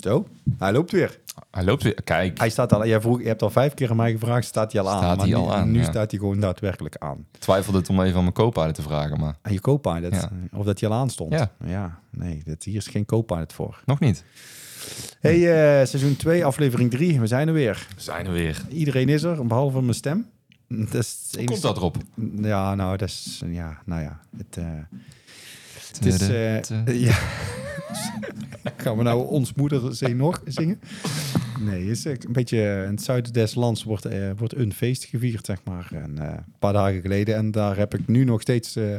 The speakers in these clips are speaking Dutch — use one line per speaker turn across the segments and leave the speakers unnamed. Zo, hij loopt weer.
Hij loopt weer. Kijk.
Hij staat al, jij vroeg, je hebt al vijf keer aan mij gevraagd, staat hij al aan?
Staat
Maar
hij
nu,
al aan,
Nu
ja.
staat hij gewoon daadwerkelijk aan.
Ik twijfelde het om even aan mijn kooppaarden te vragen, maar
Aan je co-pilot,
Ja.
of dat hij al aan stond.
Ja.
nee, dat, hier is geen co-pilot voor.
nog niet. Hm.
hey, eh, seizoen 2, aflevering 3, we zijn er weer.
We zijn er weer.
Iedereen is er, behalve mijn stem. Dat is het
Hoe
enige-
komt dat erop?
Ja, nou, dat is, ja, nou ja, het... eh, Het is... eh, ja. Gaan we nou ons moeder zee nog zingen? Nee, het is eh, een beetje... eh, In het zuiden des lands wordt, eh, wordt een feest gevierd, zeg maar. En, eh, een paar dagen geleden. En daar heb ik nu nog steeds... eh,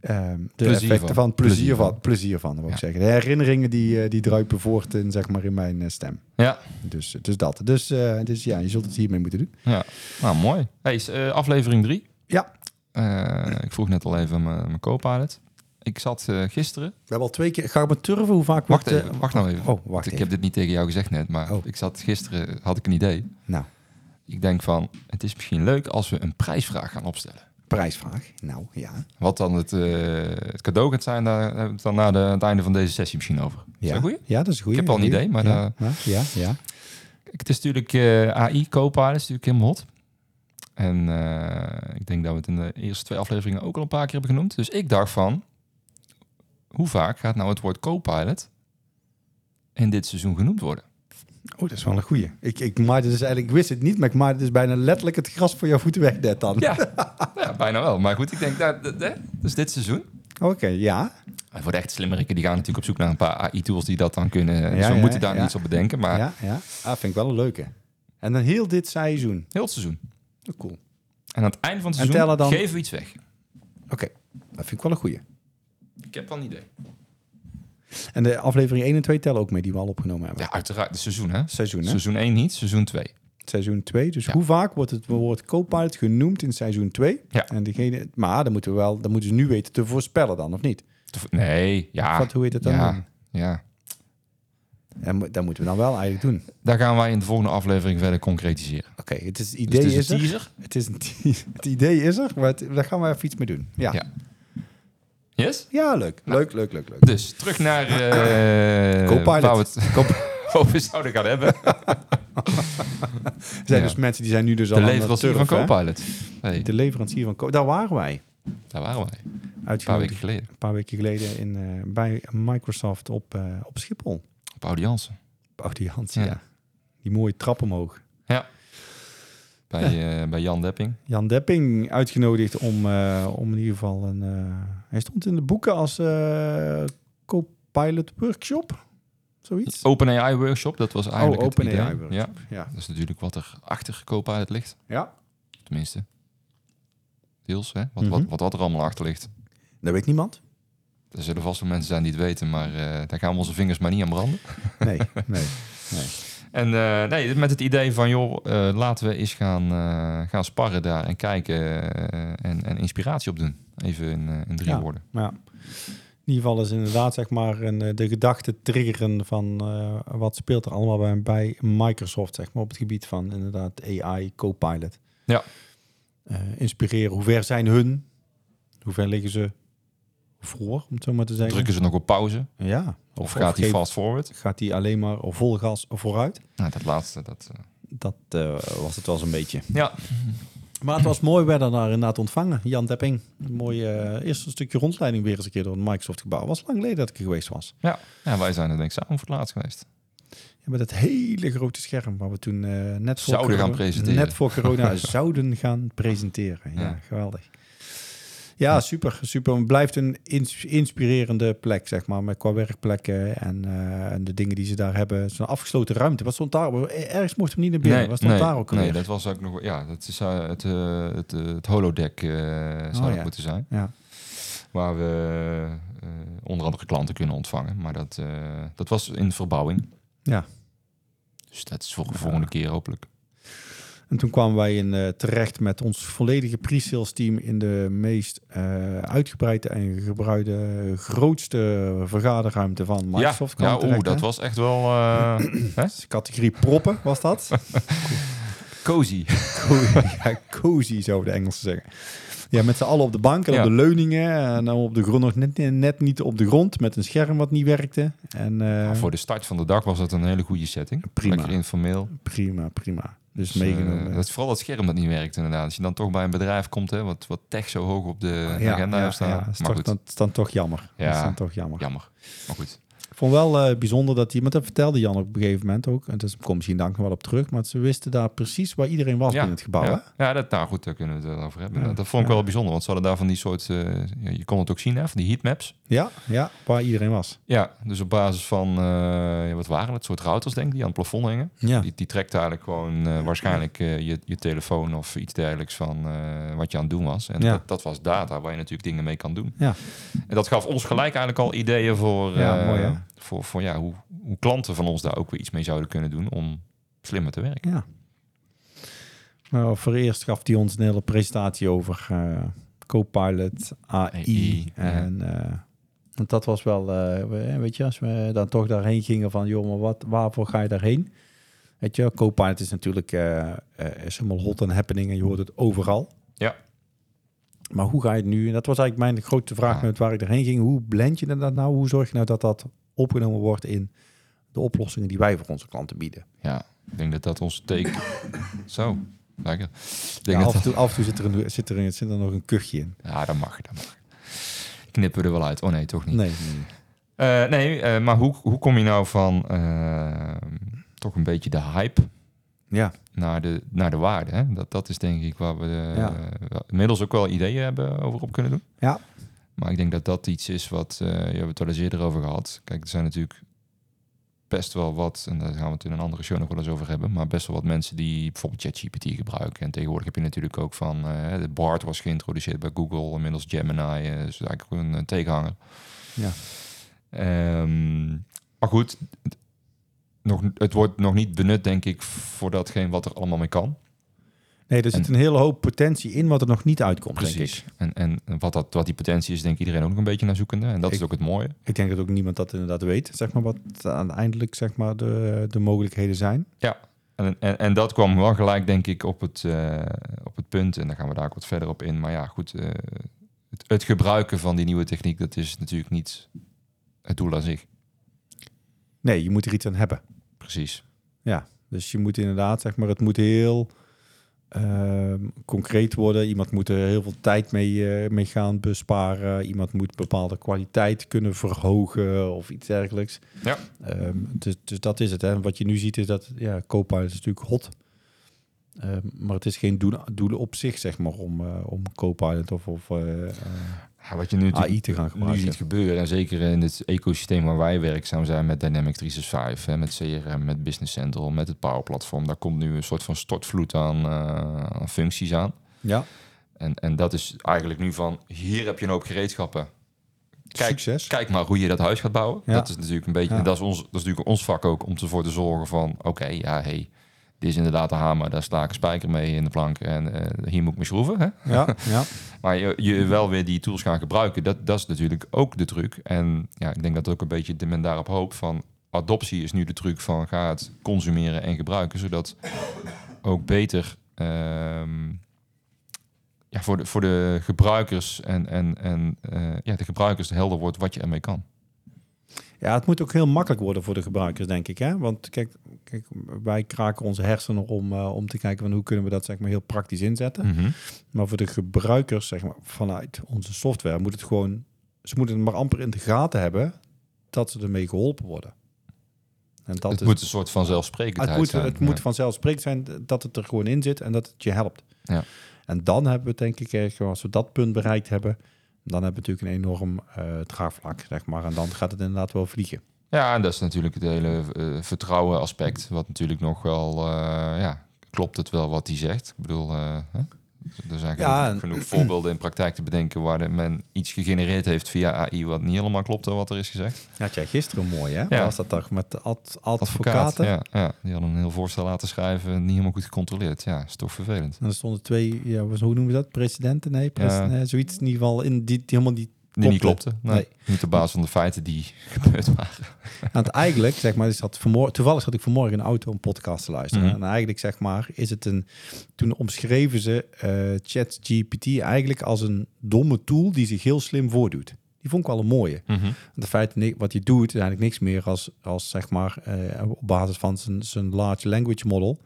ehm, de
Plezier
effecten van,
van.
plezier,
Plezier
van,
van.
plezier van, wou ik
Ja.
zeggen. De herinneringen die, eh, die druipen voort in, zeg maar, in mijn eh, stem.
Ja,
Dus, dus dat. Dus, eh, dus ja, je zult het hiermee moeten doen.
ja. Nou, mooi. Hey, is, eh, aflevering 3.
Ja.
ik vroeg net al even aan mijn, mijn co-pilot. Ik zat eh, gisteren...
We hebben al twee keer... Ga ik maar turven hoe vaak...
Wacht
wordt, eh,
even, wacht nou even.
Oh, wacht
ik
even.
heb dit niet tegen jou gezegd net, maar
Oh.
ik zat gisteren... Had ik een idee.
Nou,
Ik denk van, het is misschien leuk als we een prijsvraag gaan opstellen.
prijsvraag. Nou, ja.
Wat dan het, eh, het cadeau gaat zijn, daar hebben we het dan na de, aan het einde van deze sessie misschien over. Is dat een goeie?
Ja, dat is goed.
Ik heb al een idee, maar, eh,
Ja, ja, ja.
Kijk, het is natuurlijk eh, AI, Copilot is natuurlijk helemaal hot. En eh, ik denk dat we het in de eerste twee afleveringen ook al een paar keer hebben genoemd. Dus ik dacht van, hoe vaak gaat nou het woord Copilot in dit seizoen genoemd worden?
Oh, dat is wel een goeie. Ik, ik, maar dus eigenlijk, ik wist het niet, maar ik maakte dus bijna letterlijk het gras voor jouw voeten weg net dan.
Ja, ja bijna wel. Maar goed, ik denk dat, dat, hè? dus dit seizoen.
Oké, ja.
En voor de echt slimmerikken, die gaan natuurlijk op zoek naar een paar AI-tools die dat dan kunnen. dus
Ja,
we
ja,
moeten daar
ja.
niets op bedenken, maar
ja, ja. Ah, vind ik wel een leuke. En dan heel dit seizoen.
heel het seizoen.
Oh, Cool.
En aan het einde van het
En
seizoen
tellen dan-
geven we iets weg.
Oké, dat vind ik wel een goeie.
Ik heb wel een idee.
En de aflevering 1 en 2 tellen ook mee die we al opgenomen hebben.
Ja, uiteraard. Het seizoen, hè?
Seizoen, hè?
Seizoen 1 niet, seizoen 2.
Seizoen 2. Dus
Ja.
hoe vaak wordt het woord co-pilot genoemd in seizoen 2?
Ja.
En degene, maar dan moeten we wel, dan moeten ze nu weten te voorspellen dan, of niet?
Te- Nee, ja.
Wat, hoe heet dat dan?
Ah. ja, ja.
En mo- dat moeten we dan wel eigenlijk doen.
Daar gaan wij in de volgende aflevering verder concretiseren.
Oké, het is het
Dus
idee
het is,
is
een
er.
teaser.
Het, is een te- het idee is er, maar het- daar gaan we even iets mee doen. Ja,
Ja. Nou.
ja.
Yes?
leuk. Leuk, leuk, leuk, leuk.
Dus terug naar eh
Co-pilot.
waar we het
Kom,
over zouden gaan hebben.
er zijn
Ja.
dus mensen die zijn nu dus al
De
aan
leverancier van
turf, hè?
Copilot. Hey,
De leverancier van Co. Daar waren wij.
daar waren wij. Een paar
Uitgenodigd
weken geleden.
een paar weken geleden in, eh, bij Microsoft op, eh, op Schiphol.
Op Audiance.
Oh, die hand,
Ja.
ja. Die mooie trap omhoog.
Bij, eh, bij Jan Depping.
Jan Depping uitgenodigd om, eh, om in ieder geval een... eh, hij stond in de boeken als eh co-pilot workshop, zoiets.
OpenAI Workshop, dat was eigenlijk het
Oh, OpenAI
idee.
workshop,
Ja,
ja.
dat is natuurlijk wat er achter Copilot ligt.
Ja,
Tenminste. Deels, hè? Wat, wat,
Mhm.
wat, dat er allemaal achter ligt.
dat weet niemand.
Er zullen vast wel mensen zijn die het weten, maar eh, daar gaan we onze vingers maar niet aan branden.
Nee, nee.
En eh, nee, met het idee van, joh, eh, laten we eens gaan, eh, gaan sparren daar en kijken eh, en, en inspiratie opdoen. Even in, eh, in drie
Ja.
woorden.
Maar ja, in ieder geval is inderdaad zeg maar een, eh, de gedachte triggeren van eh, wat speelt er allemaal bij, bij Microsoft zeg maar op het gebied van inderdaad AI Copilot.
Ja.
Eh, inspireren. Hoe ver zijn hun? Hoe ver liggen ze voor, om het zo maar te zeggen?
Drukken ze nog op pauze
Ja.
of, gaat die
geeft-
fast forward?
Gaat die alleen maar vol gas vooruit?
Nou, dat laatste, dat... eh,
Dat eh, was het wel zo'n beetje.
ja,
Maar het was mooi werden daar inderdaad ontvangen. Jan Depping. Een mooi eh eerste stukje rondleiding weer eens een keer door het Microsoft gebouw. Was lang geleden dat ik er geweest was.
ja. ja, wij zijn er denk ik samen voor het laatst geweest.
Ja, met dat hele grote scherm waar we toen eh, net, voor
Zouden gaan
corona-
presenteren.
net voor corona zouden gaan presenteren. Ja,
Ja.
geweldig. Ja, super, super. Het blijft een ins- inspirerende plek, zeg maar, met qua werkplekken en, eh, en de dingen die ze daar hebben. Zo'n afgesloten ruimte. Wat stond daar? Ergens mochten we niet naar binnen. Wat stond daar ook
nee,
alweer?
dat was ook nog... Ja, dat is eh, het, eh, het, eh, het holodeck eh, zou
Oh,
dat
ja.
moeten zijn.
Ja.
Waar we eh, onder andere klanten kunnen ontvangen. Maar dat, eh, dat was in verbouwing.
Ja.
Dus dat is voor de
Ja.
volgende keer hopelijk.
En toen kwamen wij in, eh, terecht met ons volledige pre-sales team in de meest eh, uitgebreide en gebruikte grootste vergaderruimte van Microsoft.
ja,
kwamen
ja
terecht,
oeh, dat
hè?
was echt wel... eh, hè?
categorie proppen was dat.
Cozy.
ja, cozy, zouden de Engelsen zeggen. Ja, met z'n allen op de bank en
Ja.
op de leuningen. En dan op de grond nog net, net niet op de grond. Met een scherm wat niet werkte. En, eh,
Maar Voor de start van de dag was dat een hele goede setting.
Prima.
Lekker informeel.
Prima, prima. Dus
Dus, eh,
meegenomen.
dat is vooral dat scherm dat niet werkt inderdaad. Als je dan toch bij een bedrijf komt, hè, wat, wat tech zo hoog op de agenda heeft staan.
dat is
maar
toch,
goed,
dan, is dan toch jammer.
Ja.
Dat is dan toch jammer.
jammer. Maar goed.
Ik vond wel eh, bijzonder dat iemand, dat vertelde Jan op een gegeven moment ook, en dus komt misschien dank nog wel op terug, maar ze wisten daar precies waar iedereen was in het gebouw. hè?
Ja, ja dat, nou goed, daar kunnen we het wel over hebben.
Ja,
Dat, dat vond ik
ja.
wel bijzonder, want ze hadden daar van die soort... eh, ja, je kon het ook zien, hè, van die heatmaps.
Ja, ja, waar iedereen was.
Ja, dus op basis van, eh, ja, wat waren het, soort routers denk ik, die aan het plafond hingen.
Ja,
Die, die trekt eigenlijk gewoon eh, waarschijnlijk eh, je, je telefoon of iets dergelijks van eh, wat je aan het doen was. En
Ja.
dat, dat was data waar je natuurlijk dingen mee kan doen.
Ja.
En dat gaf ons gelijk eigenlijk al ideeën voor,
Ja,
eh,
mooi, hè?
voor, voor ja, hoe, hoe klanten van ons daar ook weer iets mee zouden kunnen doen om slimmer te werken.
ja. Nou, voor eerst gaf hij ons een hele presentatie over eh Copilot, AI.
AI, ja.
en eh, want dat was wel, eh, we- weet je, als we dan toch daarheen gingen van, joh, maar wat, waarvoor ga je daarheen? Weet je, Copilot is natuurlijk eh, eh, is helemaal hot en happening en je hoort het overal.
Ja.
Maar hoe ga je het nu? En dat was eigenlijk mijn grote vraag
Ja.
met waar ik erheen ging. Hoe blend je dat nou? Hoe zorg je nou dat dat opgenomen wordt in de oplossingen die wij voor onze klanten bieden?
Ja, ik denk dat dat ons teken... Zo, lekker. Ik denk
Ja, af,
dat
en toe, af en toe zit er, een, zit, er een, zit er nog een kuchje in.
dat- ja, dat mag, dat mag. Knippen we er wel uit. Oh nee, toch niet.
Nee, nee, nee.
Eh, nee, eh, maar hoe, hoe kom je nou van eh, toch een beetje de hype
Ja,
naar de, naar de waarde. Hè? Dat, dat is denk ik waar we eh,
Ja.
wel- inmiddels ook wel ideeën hebben over op kunnen doen.
Ja.
Maar ik denk dat dat iets is wat, eh je hebt het wel eens eerder over gehad. Kijk, er zijn natuurlijk best wel wat, en daar gaan we het in een andere show nog wel eens over hebben, maar best wel wat mensen die bijvoorbeeld ChatGPT gebruiken. En tegenwoordig heb je natuurlijk ook van, eh, de BART was geïntroduceerd bij Google, inmiddels Gemini, eh, is eigenlijk een, een tegenhanger.
Ja.
Ehm, maar goed, nog, het wordt nog niet benut, denk ik, voor datgene wat er allemaal mee kan.
nee er zit een hele hoop potentie in wat er nog niet uitkomt, denk ik.
Precies. En, en wat, dat, wat die potentie is, denk ik iedereen ook nog een beetje naar zoekende. En dat
Ik-
is ook het mooie.
Ik denk dat ook niemand dat inderdaad weet, zeg maar, wat uiteindelijk zeg maar, de, de mogelijkheden zijn.
En, en, en dat kwam wel gelijk, denk ik, op het, eh, op het punt. En daar gaan we daar ook wat verder op in. Maar ja, goed. eh, het, het gebruiken van die nieuwe techniek, dat is natuurlijk niet het doel aan zich.
Nee, je moet er iets aan hebben.
Precies.
Dus je moet inderdaad, zeg maar, het moet heel ehm, concreet worden. Iemand moet er heel veel tijd mee, eh, mee gaan besparen. Iemand moet bepaalde kwaliteit kunnen verhogen of iets dergelijks.
Ja.
Ehm, dus, dus dat is het. Hè. Wat je nu ziet is dat, ja, Copilot is natuurlijk hot. Ehm, maar het is geen doel, doelen op zich, zeg maar, om, eh om Copilot of, of eh, eh,
Ja, wat je nu natuurlijk
AI te gaan
nu
gebruiken.
ziet gebeuren, en zeker in het ecosysteem waar wij werkzaam zijn met Dynamic 365, hè, met CRM, met Business Central, met het Power Platform, daar komt nu een soort van stortvloed aan, eh, aan functies aan.
Ja,
En, en dat is eigenlijk nu van, hier heb je een hoop gereedschappen. Kijk,
succes.
kijk maar hoe je dat huis gaat bouwen.
Ja.
Dat is natuurlijk een beetje,
Ja.
dat, is ons, dat is natuurlijk ons vak ook, om ervoor te zorgen van, oké, ja, hey, dit is inderdaad de hamer, daar sla ik een spijker mee in de plank en eh, hier moet ik me schroeven. Hè?
Ja, ja.
Maar je, je wel weer die tools gaan gebruiken, dat, dat is natuurlijk ook de truc. En ja, ik denk dat ook een beetje de men daarop hoopt van... adoptie is nu de truc van ga het consumeren en gebruiken... zodat ook beter ehm, ja, voor, de, voor de gebruikers en, en, en eh, ja, de gebruikers helder wordt wat je ermee kan.
Ja, het moet ook heel makkelijk worden voor de gebruikers, denk ik. Hè? Want kijk, kijk, wij kraken onze hersenen om, eh, om te kijken van hoe kunnen we dat zeg maar, heel praktisch inzetten.
Mhm.
Maar voor de gebruikers zeg maar, vanuit onze software moet het gewoon... Ze moeten het maar amper in de gaten hebben dat ze ermee geholpen worden. En dat
Het
is,
moet een soort van zelfsprekendheid
het moet,
zijn.
het
Ja.
moet vanzelfsprekend zijn dat het er gewoon in zit en dat het je helpt.
Ja.
En dan hebben we denk ik, eh, als we dat punt bereikt hebben... dan hebben we natuurlijk een enorm eh draagvlak, zeg maar. En dan gaat het inderdaad wel vliegen.
Ja, en dat is natuurlijk het hele eh, vertrouwen aspect. Wat natuurlijk nog wel, eh, ja, klopt het wel wat hij zegt? Ik bedoel, eh, hè? er zijn genoeg,
Ja, en-
genoeg voorbeelden in praktijk te bedenken waar de- men iets gegenereerd heeft via AI wat niet helemaal klopte wat er is gezegd.
Had jij gisteren mooi, hè?
Ja.
Was dat toch met de ad- advocaten?
Advocaat, ja, ja, die hadden een heel voorstel laten schrijven, niet helemaal goed gecontroleerd. Ja, is toch vervelend.
En er stonden twee, ja, was- hoe noemen we dat? Presidenten? Nee, pres-
Ja.
nee, zoiets in ieder geval. In die, die- helemaal die
Die niet klopte. Nee.
Nee.
Niet op basis van de feiten die gebeurd waren.
Want eigenlijk, zeg maar, is dat vanmor- toevallig zat ik vanmorgen in de auto een podcast te luisteren.
Mhm.
En eigenlijk, zeg maar, is het een... Toen omschreven ze eh ChatGPT eigenlijk als een domme tool die zich heel slim voordoet. Die vond ik wel een mooie. Want in feite, ni- wat je doet, is eigenlijk niks meer als, als zeg maar, eh, op basis van zijn- zijn large language model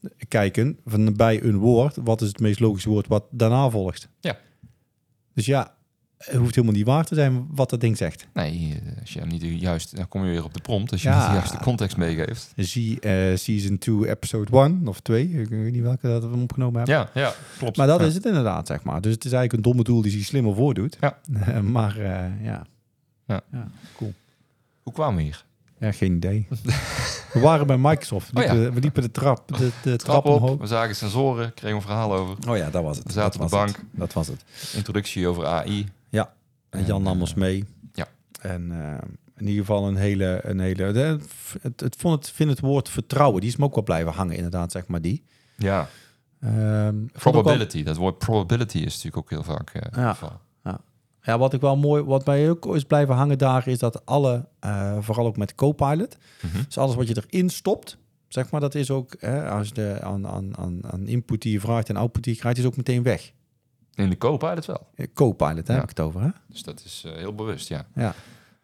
eh, kijken van bij een woord, wat is het meest logische woord wat daarna volgt.
Ja.
Dus ja, het hoeft helemaal niet waar te zijn wat dat ding zegt.
Nee, eh, als je hem niet juist... Dan kom je weer op de prompt. Als je
Ja.
niet de juiste context meegeeft.
Zie eh, season 2, episode 1 of 2, ik weet niet welke dat we opgenomen hebben.
Ja, ja, klopt.
Maar dat
Ja.
is het inderdaad, zeg maar. Dus het is eigenlijk een domme doel die zich slimmer voordoet.
Ja.
maar eh, ja.
Ja.
cool.
Hoe kwamen we hier?
Ja, geen idee. we waren bij Microsoft. We
Oh ja.
liepen, we liepen de trap, de, de trap,
Trap
omhoog.
op, we zagen sensoren, kregen een verhaal over.
Oh ja, dat was het.
We zaten
dat
op de
was het. Dat was het.
Introductie over AI.
En Jan nam ons mee.
ja.
En eh, in ieder geval een hele... Een hele de- het, het, vond het, vind het woord vertrouwen, die is me ook wel blijven hangen inderdaad, zeg maar die.
Ja,
Ehm, vond ik wel-
probability. Dat woord probability is natuurlijk ook heel vaak eh, het
Ja.
geval.
ja, wat ik wel mooi, wat mij ook is blijven hangen daar, is dat alle, eh, vooral ook met Copilot,
Mhm.
dus alles wat je erin stopt, zeg maar, dat is ook, eh, als je de, aan, aan, aan, aan input die je vraagt en output die je krijgt, is ook meteen weg.
In de co-pilot wel.
Eh, Copilot, hè,
Ja.
heb ik het over, hè?
Dus dat is eh, heel bewust, ja.
Ja.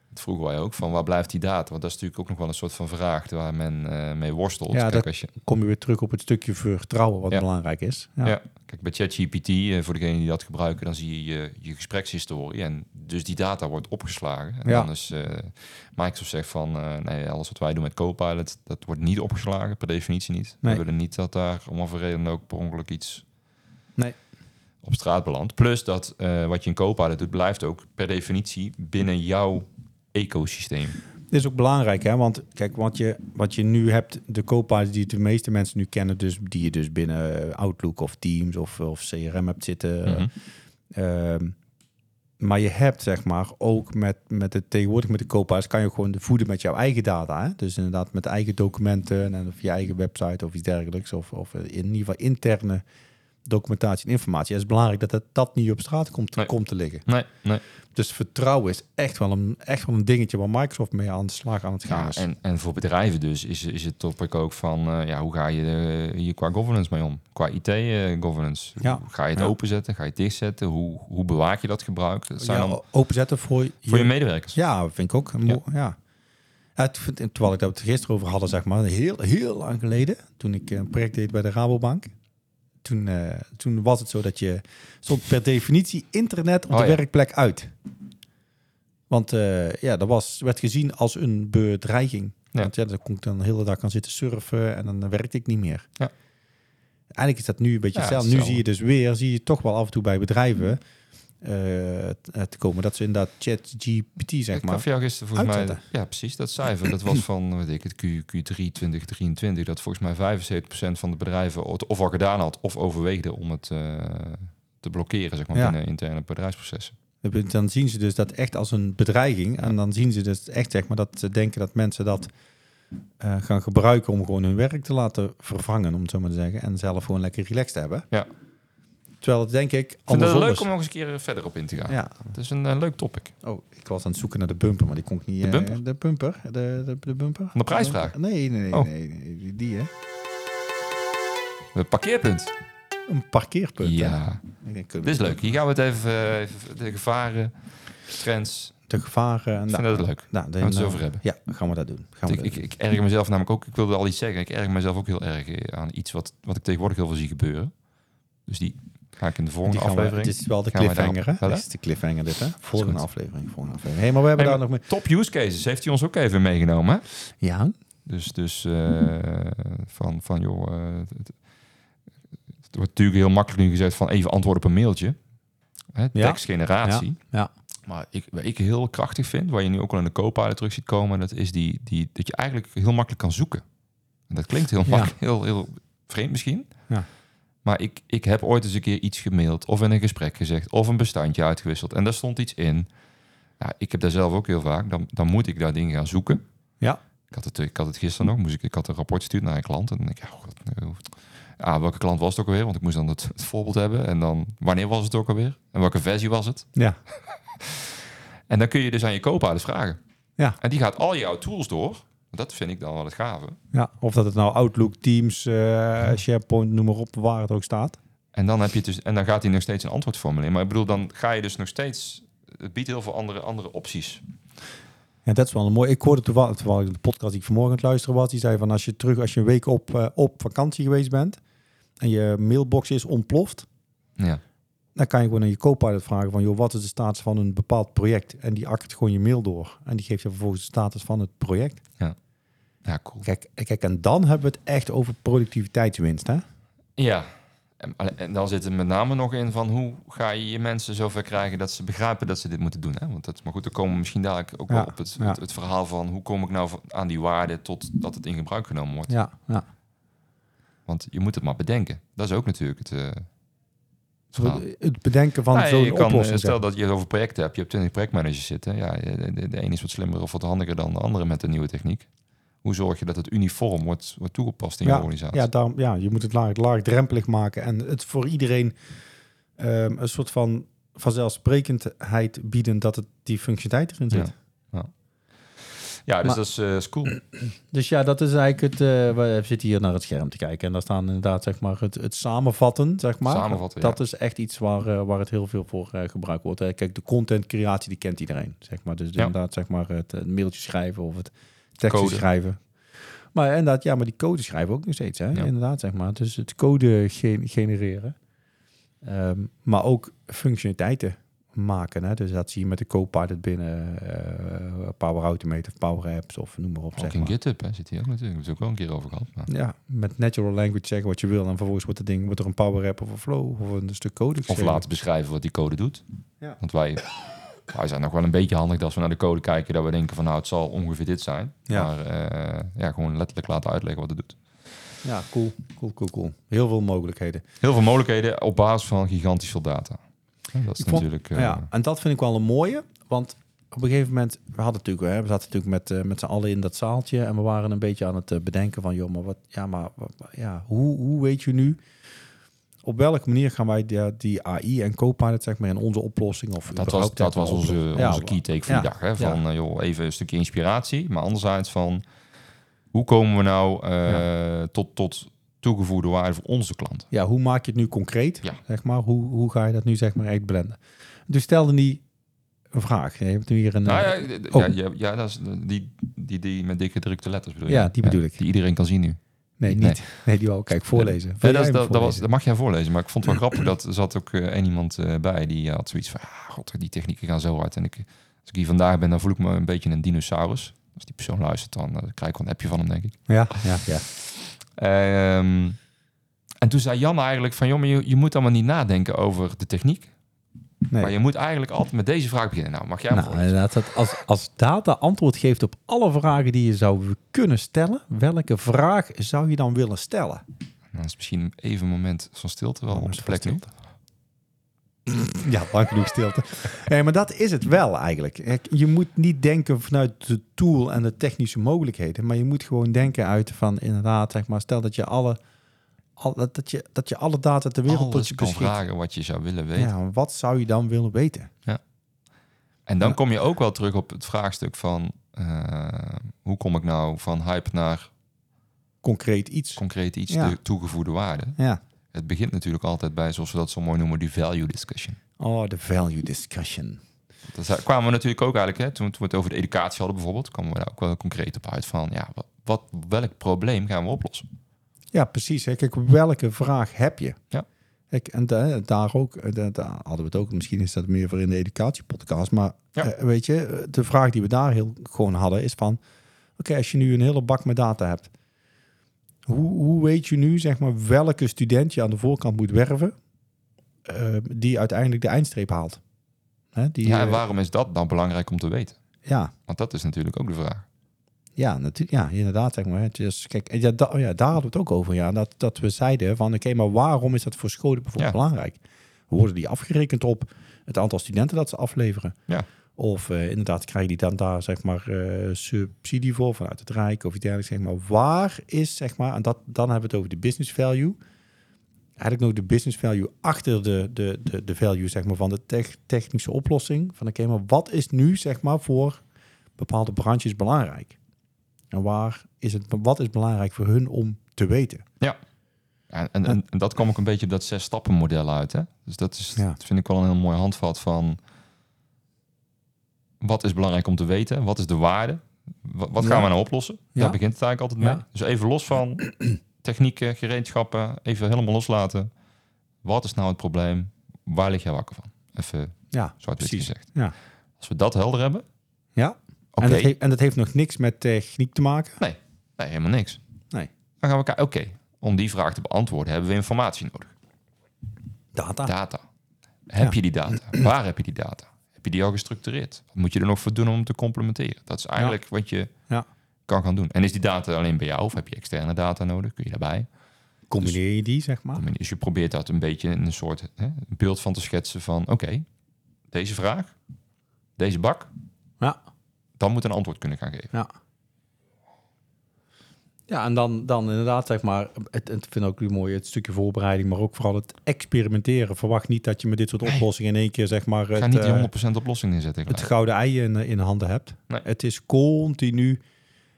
Dat vroegen wij ook, van waar blijft die data? Want dat is natuurlijk ook nog wel een soort van vraag waar men eh, mee worstelt.
Ja,
kijk,
dat-
als je,
Kom je weer terug op het stukje vertrouwen, wat
Ja.
belangrijk is.
ja. kijk bij ChatGPT, eh, voor degenen die dat gebruiken, dan zie je je, je gesprekshistorie. En dus die data wordt opgeslagen. En
Ja.
dan is eh, Microsoft zegt van, eh, nee, alles wat wij doen met Copilot, dat wordt niet opgeslagen, per definitie niet.
Nee.
We willen niet dat daar om wat voor reden ook per ongeluk iets
Nee.
op straat belandt. Plus dat eh, wat je in Copilot doet, blijft ook per definitie binnen jouw ecosysteem.
Dit is ook belangrijk, hè? Want kijk, wat je, wat je nu hebt, de Copilot die de meeste mensen nu kennen, dus die je dus binnen Outlook of Teams of, of CRM hebt zitten.
Mhm.
Ehm, maar je hebt zeg maar ook met, met het tegenwoordig met de Copilots kan je gewoon de voeden met jouw eigen data. Hè? Dus inderdaad met eigen documenten en of je eigen website of iets dergelijks. Of, of in ieder geval interne documentatie en informatie. Het is belangrijk dat dat, dat niet op straat komt,
Nee.
komt te liggen.
Nee, nee.
Dus vertrouwen is echt wel, een, echt wel een dingetje waar Microsoft mee aan de slag aan het gaan
Ja,
is.
en, en voor bedrijven dus is, is het topic ook van eh, ja, hoe ga je eh, hier qua governance mee om? Qua IT-governance.
Ja.
Ga je het
Ja.
openzetten? Ga je het dichtzetten? Hoe, hoe bewaak je dat gebruik? Dat zijn
ja,
dan
openzetten voor je,
voor je medewerkers.
Ja, vind ik ook. een mo- Ja. ja. het vind- terwijl ik dat we het gisteren over hadden, zeg maar, heel, heel lang geleden, toen ik een project deed bij de Rabobank. Toen, eh, toen was het zo dat je stond per definitie internet op
Oh,
de
ja.
werkplek uit. Want eh, ja, dat was, werd gezien als een bedreiging.
Ja.
Want ja, dan kon ik dan de hele dag aan zitten surfen en dan werkte ik niet meer.
Ja.
Eigenlijk is dat nu een beetje
Ja,
hetzelfde. Nu
hetzelfde.
zie je dus weer, zie je toch wel af en toe bij bedrijven eh, te- te komen dat ze inderdaad ChatGPT zeg
ik
maar.
gaf jou gisteren volgens mij...
Uitzetten.
Ja, precies. Dat cijfer, dat was van weet ik het, Q, Q3 2023. Dat volgens mij 75% van de bedrijven het of al gedaan had... of overweegde om het eh, te blokkeren zeg maar,
Ja.
binnen interne bedrijfsprocessen.
Dan zien ze dus dat echt als een bedreiging. En dan zien ze dus echt, zeg maar, dat ze denken dat mensen dat eh, gaan gebruiken om gewoon hun werk te laten vervangen, om het zo maar te zeggen. En zelf gewoon lekker relaxed te hebben.
Ja.
Terwijl het denk ik
Ik vind het
andersom
leuk
is.
om nog eens een keer verder op in te gaan.
Ja.
Het is een eh, leuk topic.
Oh, ik was aan het zoeken naar de bumper, maar die kon ik niet...
De
eh,
bumper?
de bumper. De, de, de bumper.
Van de prijsvraag?
Nee, nee, nee.
Oh.
nee, nee, die, die, hè.
Het parkeerpunt.
Een parkeerpunt. hè.
Ja,
Ik denk, kunnen
dit
we-
is leuk. Hier gaan we het even, eh, even de gevaren, trends.
De gevaren.
Ik
nou,
vind dat leuk.
nou, dan,
Gaan we het
eh,
eens over hebben.
Ja, gaan we dat doen. Gaan we
Ik,
dat
ik,
doen.
ik erger mezelf namelijk ook, ik wilde al iets zeggen, ik erger mezelf ook heel erg eh, aan iets wat, wat ik tegenwoordig heel veel zie gebeuren. Dus die ga ik in de volgende
Die gaan we-
aflevering.
dit is wel de
gaan we
cliffhanger,
daarop-
hè?
Wel,
Dit
hè?
is de cliffhanger, dit, hè? Volgende
goed.
aflevering, volgende aflevering. hey, maar we hebben
Hey,
daar nog
Top use cases heeft hij ons ook even meegenomen. hè?
meer... Ja?
Dus, dus eh, van, van joh, eh, het, het- het wordt natuurlijk heel makkelijk nu gezegd van even antwoord op een mailtje. Hè,
Ja.
Tekstgeneratie.
Ja.
Maar ik, wat ik heel krachtig vind, waar je nu ook al in de co-pilot terug ziet komen, dat is die, die, dat je eigenlijk heel makkelijk kan zoeken. En dat klinkt heel,
Ja.
makkelijk, heel, heel vreemd misschien.
Ja.
Maar ik, ik heb ooit eens een keer iets gemaild, of in een gesprek gezegd, of een bestandje uitgewisseld. En daar stond iets in. Ja, ik heb daar zelf ook heel vaak. Dan, dan moet ik daar dingen gaan zoeken.
Ja.
Ik had het, ik had het gisteren nog. Moest ik, ik had een rapport gestuurd naar een klant. En dan denk ik, ja, god, nou, ah, welke klant was het ook alweer? Want ik moest dan het, het voorbeeld hebben. En dan, wanneer was het ook alweer? En welke versie was het?
Ja.
En dan kun je dus aan je co-pilot vragen.
Ja.
En die gaat al jouw tools door. Dat vind ik dan wel het gave.
Ja, of dat het nou Outlook, Teams, eh, SharePoint, noem maar op, waar het ook staat.
En dan, heb je het dus, en dan gaat hij nog steeds een antwoordformulier. Maar ik bedoel, dan ga je dus nog steeds... Het biedt heel veel andere, andere opties.
Ja, dat is wel een mooi. Ik hoorde toevallig, toevallig de podcast die ik vanmorgen aan het luisteren was, die zei van als je terug, als je een week op, eh, op vakantie geweest bent en je mailbox is ontploft,
Ja.
dan kan je gewoon aan je co-pilot vragen van joh, wat is de status van een bepaald project? En die akkert gewoon je mail door en die geeft je vervolgens de status van het project.
Ja, cool.
Kijk, kijk en dan hebben we het echt over productiviteitswinst, hè?
Ja. En, en dan zit er met name nog in van hoe ga je je mensen zover krijgen dat ze begrijpen dat ze dit moeten doen. Hè? Want dat is maar goed, dan komen we misschien dadelijk ook wel
Ja,
op het,
ja.
het, het verhaal van hoe kom ik nou van- aan die waarde tot dat het in gebruik genomen wordt.
Ja, ja.
Want je moet het maar bedenken. Dat is ook natuurlijk het. eh, het verhaal.
Dus Het bedenken van
Nou, je
zo'n
kan, eh,
oplossing.
stel dat je het over projecten hebt. Je hebt 20 projectmanagers zitten. Ja, eh, de, de- de een is wat slimmer of wat handiger dan de andere met de nieuwe techniek. Hoe zorg je dat het uniform wordt, wordt toegepast in je organisatie?
Ja, daarom, ja, je moet het laag, laagdrempelig maken en het voor iedereen ehm, een soort van vanzelfsprekendheid bieden dat het die functionaliteit erin zit.
Ja. Ja, dus
Maar-
dat is eh, is cool.
Dus ja, dat is eigenlijk het... eh, we zitten hier naar het scherm te kijken. En daar staan inderdaad zeg maar, het, het samenvatten, zeg maar.
Samenvatten,
Dat is echt iets waar, eh, waar het heel veel voor eh, gebruikt wordt. Eh, kijk, de contentcreatie, die kent iedereen, zeg maar. Dus
Ja.
inderdaad, zeg maar, het, eh, mailtje schrijven of het tekstje
Code.
schrijven. Maar inderdaad, ja, maar die code schrijven ook nog steeds, hè?
Ja.
Inderdaad, zeg maar. Dus het code gen- genereren. Ehm, maar ook functionaliteiten maken, hè? Dus dat zie je met de Copilot binnen eh, Power Automate of Power Apps of noem maar op,
Ook
zeg
in
maar.
GitHub hè, zit hij ook natuurlijk. Daar hebben we het ook wel een keer over gehad. Maar.
Ja,
Met natural language zeggen wat je wil en vervolgens wordt het ding wordt er een power app of een flow of een stuk code
Of
geschreven.
laten beschrijven wat die code doet.
Ja.
Want wij, wij zijn nog wel een beetje handig dat als we naar de code kijken... dat we denken van nou, het zal ongeveer dit zijn.
Ja.
Maar eh, ja, gewoon letterlijk laten uitleggen wat het doet.
Ja, cool. Cool, cool, cool. Heel veel mogelijkheden.
Heel veel mogelijkheden op basis van gigantisch veel data. Ja, Dat is
Ik vond-
natuurlijk... eh,
Nou Ja, en dat vind ik wel een mooie, want op een gegeven moment, we hadden natuurlijk, hè, we zaten natuurlijk met, eh, met z'n allen in dat zaaltje en we waren een beetje aan het eh, bedenken van, joh, maar wat, ja, maar wat- ja, hoe, hoe weet je nu, op welke manier gaan wij die, die AI en Copilot, zeg maar, in onze oplossing of
Dat was,
überhaupt
dat
zeg maar,
was onze,
op-
onze
ja,
key take voor die
ja,
dag. Hè? Van eh, joh, even een stukje inspiratie. Maar anderzijds van hoe komen we nou eh, tot, tot toegevoegde waarde voor onze klant?
Ja, hoe maak je het nu concreet?
Ja.
Zeg maar, hoe, hoe ga je dat nu zeg maar echt blenden? Dus stelde die een vraag. Je hebt nu hier een.
Nou
eh,
ja, d- d-
oh.
ja, ja, ja, dat is die, die, die met dikke drukte letters bedoel je?
Ja, die bedoel ik.
Die iedereen kan zien nu.
nee, niet.
nee.
Nee, die wou kijk voorlezen.
Ja,
Wil
dat, is-
jij hem
dat, dat was,
voorlezen?
dat mag jij voorlezen, maar ik vond het wel grappig dat er zat ook eh, één iemand eh, bij die had zoiets van, ah, god, die technieken gaan zo hard. En ik, als ik hier vandaag ben, dan voel ik me een beetje een dinosaurus. Als die persoon luistert, dan eh, krijg ik wel een appje van hem, denk ik.
Ja, ja, ja.
Ehm, en toen zei Jan eigenlijk van, joh, maar je, je moet allemaal niet nadenken over de techniek.
Nee.
Maar je moet eigenlijk altijd met deze vraag beginnen. Nou, mag jij hem
Nou,
voorlezen?
inderdaad, dat als, als data antwoord geeft op alle vragen die je zou kunnen stellen, welke vraag zou je dan willen stellen?
Dan is misschien even een moment van stilte wel op zijn plek nu.
Ja, lang genoeg stilte. Nee, maar dat is het wel eigenlijk. Kijk, Je moet niet denken vanuit de tool en de technische mogelijkheden, maar je moet gewoon denken uit van inderdaad, zeg maar, stel dat je alle, al, dat, dat je, dat je alle data ter wereld tot
Alles
je
kan
beschikt.
vragen wat je zou willen weten.
Ja, wat zou je dan willen weten?
En dan
Ja.
kom je ook wel terug op het vraagstuk van... eh, hoe kom ik nou van hype naar
Concreet iets.
concreet iets
Ja.
de toegevoegde waarde?
Ja.
Het begint natuurlijk altijd bij, zoals we dat zo mooi noemen, die value discussion.
Oh, de value discussion.
Dat is- kwamen we natuurlijk ook eigenlijk, hè, toen we het over de educatie hadden bijvoorbeeld, kwamen we daar ook wel concreet op uit van, ja, wat, wat, welk probleem gaan we oplossen?
Ja, precies. Hè. Kijk, welke vraag heb je?
Ja.
Kijk, en da- daar ook, eh, da- daar hadden we het ook, misschien is dat meer voor in de educatiepodcast, maar
Ja.
eh, weet je, eh, de vraag die we daar heel gewoon hadden is van, oké, als je nu een hele bak met data hebt, hoe, hoe weet je nu, zeg maar, welke student je aan de voorkant moet werven eh, die uiteindelijk de eindstreep haalt? Hè, die,
Ja, en
eh,
waarom is dat dan belangrijk om te weten?
ja,
Want dat is natuurlijk ook de vraag.
Ja, natuurlijk. Ja, inderdaad. Zeg maar. hè. Dus, kijk, en ja, da- oh ja, daar hadden we het ook over. Ja, dat, dat we zeiden van, oké, maar waarom is dat voor scholen bijvoorbeeld
Ja.
belangrijk? Worden die afgerekend op het aantal studenten dat ze afleveren?
Ja.
Of eh, inderdaad, krijgen die dan daar zeg maar eh, subsidie voor vanuit het Rijk of iets dergelijks? Zeg maar. Waar is, zeg maar, en dat, dan hebben we het over de business value. eigenlijk nog de business value achter de, de, de, de value zeg maar, van de tech, technische oplossing. Van oké, maar wat is nu zeg maar, voor bepaalde branches belangrijk? En waar is het, wat is belangrijk voor hun om te weten?
En, en, en, en dat kwam ook een beetje op dat zes stappen model uit. Hè? Dus dat is,
Ja.
dat vind ik wel een heel mooi handvat van wat is belangrijk om te weten, wat is de waarde, wat, wat gaan
Ja.
we nou oplossen?
Ja.
Daar begint het eigenlijk altijd mee.
Ja.
Dus even los van technieken, gereedschappen, even helemaal loslaten. Wat is nou het probleem? Waar lig jij wakker van? Even
Ja,
zwart-wit
precies.
gezegd.
Ja.
Als we dat helder hebben,
Ja.
oké,
En, dat heeft, en dat heeft nog niks met techniek te maken.
nee, helemaal niks.
Nee.
Dan gaan we elkaar, oké, om die vraag te beantwoorden hebben we informatie nodig.
Data.
data. Heb
Ah. Ja.
je die data? Waar heb je die data? Heb je die al gestructureerd? Wat moet je er nog voor doen om hem te complementeren? Dat is eigenlijk wat je
Ja.
kan gaan doen. En is die data alleen bij jou of heb je externe data nodig? Kun je daarbij?
Combineer je die, zeg maar.
Dus je probeert dat een beetje in een soort hè, een beeld van te schetsen van... oké, deze vraag, deze bak,
Ja.
dan moet een antwoord kunnen gaan geven.
Ja, en dan, dan inderdaad, zeg maar, het, het vind ik ook mooi het stukje voorbereiding, maar ook vooral het experimenteren. Verwacht niet dat je met dit soort
Nee.
oplossingen in één keer, zeg maar,
Ga
het,
niet
eh,
die 100% oplossing inzetten.
het
gelijk.
gouden ei in, eh, in handen hebt.
Nee.
Het is continu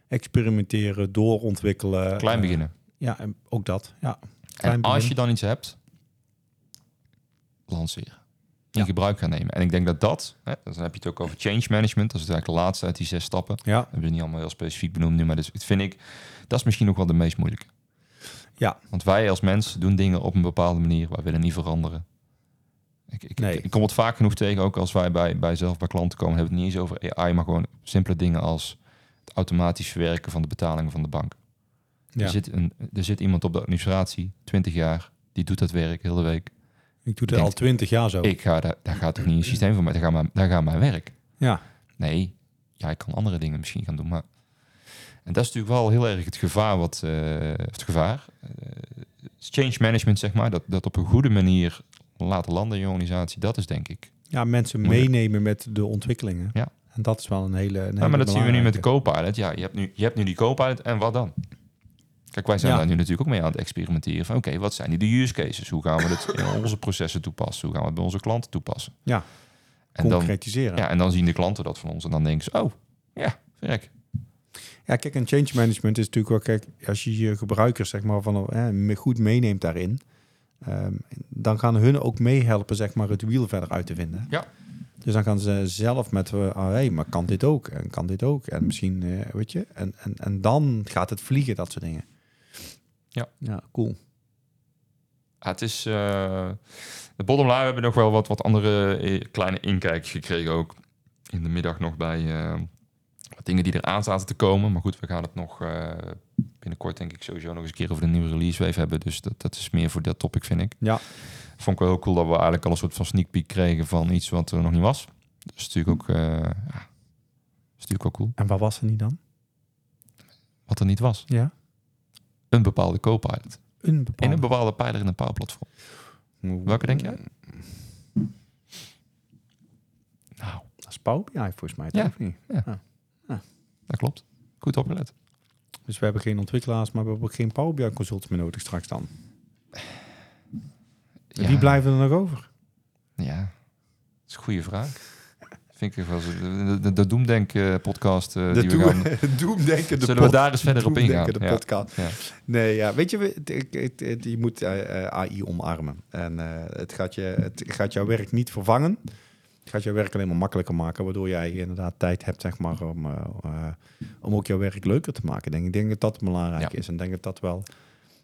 experimenteren, doorontwikkelen.
Klein
Eh,
beginnen.
ja, en ook dat. Ja,
En
klein
als
begin.
je dan iets hebt, lanceren. In
Ja.
gebruik gaan nemen. En ik denk dat dat, hè, dus dan heb je het ook over change management. Dat is eigenlijk de laatste uit die zes stappen.
ja.
We hebben ze niet allemaal heel specifiek benoemd nu, maar dus, het vind ik, dat is misschien ook wel de meest moeilijke.
Ja.
Want wij als mensen doen dingen op een bepaalde manier. Wij willen niet veranderen. Ik, ik,
Nee.
ik, ik kom het vaak genoeg tegen, ook als wij bij, bij zelf bij klanten komen, hebben we het niet eens over AI, maar gewoon simpele dingen als het automatisch verwerken van de betalingen van de bank.
Ja.
Er, zit een, er zit iemand op de administratie, 20 jaar, die doet dat werk hele week.
Ik doe het
Denk-
al twintig jaar zo.
Ik ga daar, daar gaat toch niet een systeem van mij, daar gaat mijn, daar gaat mijn werk.
Ja.
Nee, ja, ik kan andere dingen misschien gaan doen, maar... En dat is natuurlijk wel heel erg het gevaar wat... eh, of het gevaar. eh, change management, zeg maar. Dat, dat op een goede manier laten landen in je organisatie. Dat is denk ik.
Ja, mensen
Moeilijk.
meenemen met de ontwikkelingen.
Ja.
En dat is wel een hele. Een hele
Ja, maar dat zien we nu met de
belangrijke.
co-pilot. Ja, je hebt nu, je hebt nu die co-pilot en wat dan? Kijk, wij zijn
Ja.
daar nu natuurlijk ook mee aan het experimenteren. Van oké, wat zijn die de use cases? Hoe gaan we dit in onze processen toepassen? Hoe gaan we het bij onze klanten toepassen?
Ja.
En dan,
concretiseren.
ja, en dan zien de klanten dat van ons en dan denken ze, oh, ja, verrek.
Ja, kijk, en change management is natuurlijk wel, kijk, als je je gebruikers zeg maar van eh, me- goed meeneemt daarin, ehm, dan gaan hun ook meehelpen zeg maar het wiel verder uit te vinden.
Ja.
Dus dan gaan ze zelf met, eh, ah, hey, maar kan dit ook en kan dit ook en misschien, eh, weet je, en, en, en dan gaat het vliegen dat soort dingen.
Ja.
Ja, cool.
Ja, Ah, het is, eh de bottom line, we hebben nog wel wat, wat andere eh, kleine inkijkjes gekregen ook. In de middag nog bij eh, wat dingen die eraan zaten te komen. Maar goed, we gaan het nog eh, binnenkort denk ik sowieso nog eens een keer over de nieuwe release wave hebben. Dus dat, dat is meer voor dat topic, vind ik.
Ja.
Vond ik wel heel cool dat we eigenlijk al een soort van sneak peek kregen van iets wat er nog niet was. Dat is natuurlijk ook, eh, ja, is natuurlijk ook cool.
En waar was ze niet dan?
Wat er niet was.
Ja.
Een bepaalde co-pilot.
Een
En
bepaalde.
een bepaalde pijler in een powerplatform. Welke denk jij? Nou,
Dat is Power BI volgens mij.
Ja.
toch, of niet?
dat klopt. Goed opgelet.
Dus we hebben geen ontwikkelaars, maar we hebben ook geen Power BI consultants meer nodig straks dan. En
Ja.
Wie blijven er nog over?
Ja, dat is een goede vraag. Vind ik wel zo. De, de, de Doemdenk eh, podcast eh, die we gaan.
doemdenken
Zullen we daar eens verder op ingaan?
De
Ja.
podcast.
Ja.
Nee, ja, weet je, we- het- ik- het- het- je moet eh, eh, AI omarmen. En eh, het, gaat je, het gaat jouw werk niet vervangen. Het gaat jouw werk alleen maar makkelijker maken, waardoor jij inderdaad tijd hebt zeg maar, om, eh, eh, om ook jouw werk leuker te maken. Denk, ik denk dat dat belangrijk
Ja.
is en denk dat dat wel.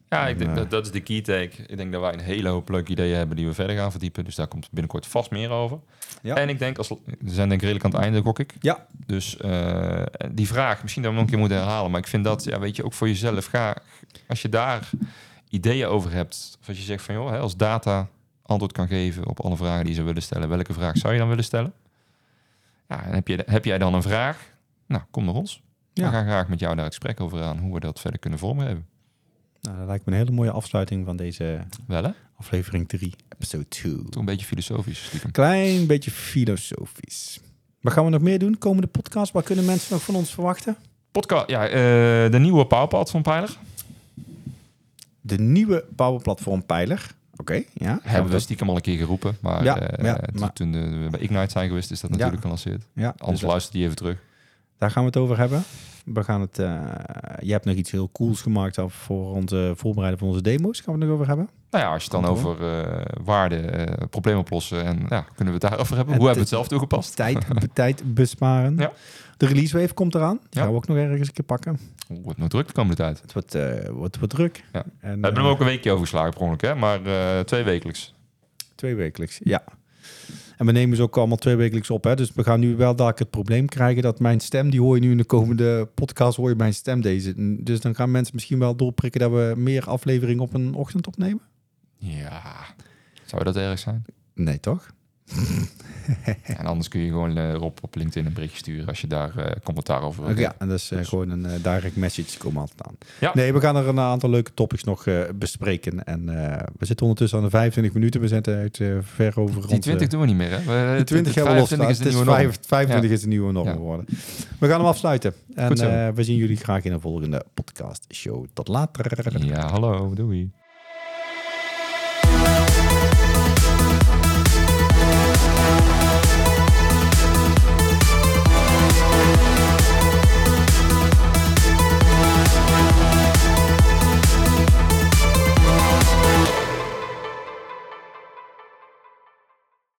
Ja, ik denk
Ja.
dat, dat is de key take. Ik denk dat wij een hele hoop leuke ideeën hebben die we verder gaan verdiepen. Dus daar komt binnenkort vast meer over.
Ja.
En ik denk, als, we zijn denk ik redelijk aan het einde, gok ik.
Ja.
Dus eh, die vraag, misschien dat we hem nog een keer moeten herhalen. Maar ik vind dat, ja, weet je, ook voor jezelf. Ga, als je daar ideeën over hebt. Of als je zegt van, joh, hè, als data antwoord kan geven op alle vragen die ze willen stellen. Welke vraag zou je dan willen stellen? Ja, en heb, je, heb jij dan een vraag? Nou, kom naar ons.
Ja.
We gaan graag met jou daar het gesprek over aan. Hoe we dat verder kunnen vormgeven.
Nou, dat lijkt me een hele mooie afsluiting van deze
Wel hè?
aflevering 3, episode 2.
Toch een beetje filosofisch. Stiekem.
Klein beetje filosofisch. Wat gaan we nog meer doen? Komende podcast, wat kunnen mensen nog van ons verwachten?
Podcast, ja, eh, de nieuwe PowerPad van Pijler.
de nieuwe Power Platform Pijler. ja.
Hebben we stiekem al een keer geroepen. Maar,
Ja,
eh,
ja,
toen-
maar-
toen eh, we bij Ignite zijn geweest, is dat
Ja.
natuurlijk gelanceerd.
ja.
Anders
dus
luistert die even terug.
Daar gaan we het over hebben. We gaan het, eh, je hebt nog iets heel cools gemaakt af voor onze voorbereiding van onze demo's. Gaan we het nog over hebben?
Nou ja, als je het dan
Komt
over eh, waarde, eh, problemen oplossen en ja, kunnen we het daarover hebben?
En
Hoe hebben we het
dit-
zelf toegepast?
Tijd, be- tijd besparen.
Ja.
De release wave komt eraan. Die
Ja.
gaan we ook nog ergens een keer pakken.
Oeh, Het wordt nog druk de komende tijd.
Het wordt, eh, wordt, wordt druk.
Ja.
En,
We hebben
eh,
hem ook een weekje overgeslagen per ongeluk, hè? maar eh, twee wekelijks.
Twee wekelijks, ja. En we nemen ze ook allemaal twee wekelijks op. Hè? Dus we gaan nu wel dadelijk het probleem krijgen dat mijn stem, die hoor je nu in de komende podcast, hoor je mijn stem deze. Dus dan gaan mensen misschien wel doorprikken dat we meer afleveringen op een ochtend opnemen.
Ja, zou dat erg zijn?
Nee, toch?
En anders kun je gewoon eh, Rob op LinkedIn een berichtje sturen als je daar eh, commentaar over wil.
Ja, en dat is eh,
Dus-
gewoon een eh, direct message, die komen altijd aan.
Ja.
Nee, we gaan er een aantal leuke topics nog eh, bespreken. En eh, we zitten ondertussen aan de 25 minuten. We zitten uit eh, ver over
Die
rond, eh,
20 doen we niet meer, hè? We-
De 20 hebben we los.
25 eh, is de
het is
nieuwe norm.
vijf- 25 is de nieuwe norm
Ja.
geworden. We gaan hem afsluiten. En
Goed zo.
eh, we zien jullie graag in een volgende podcast show. Tot later.
Ja, hallo, doei.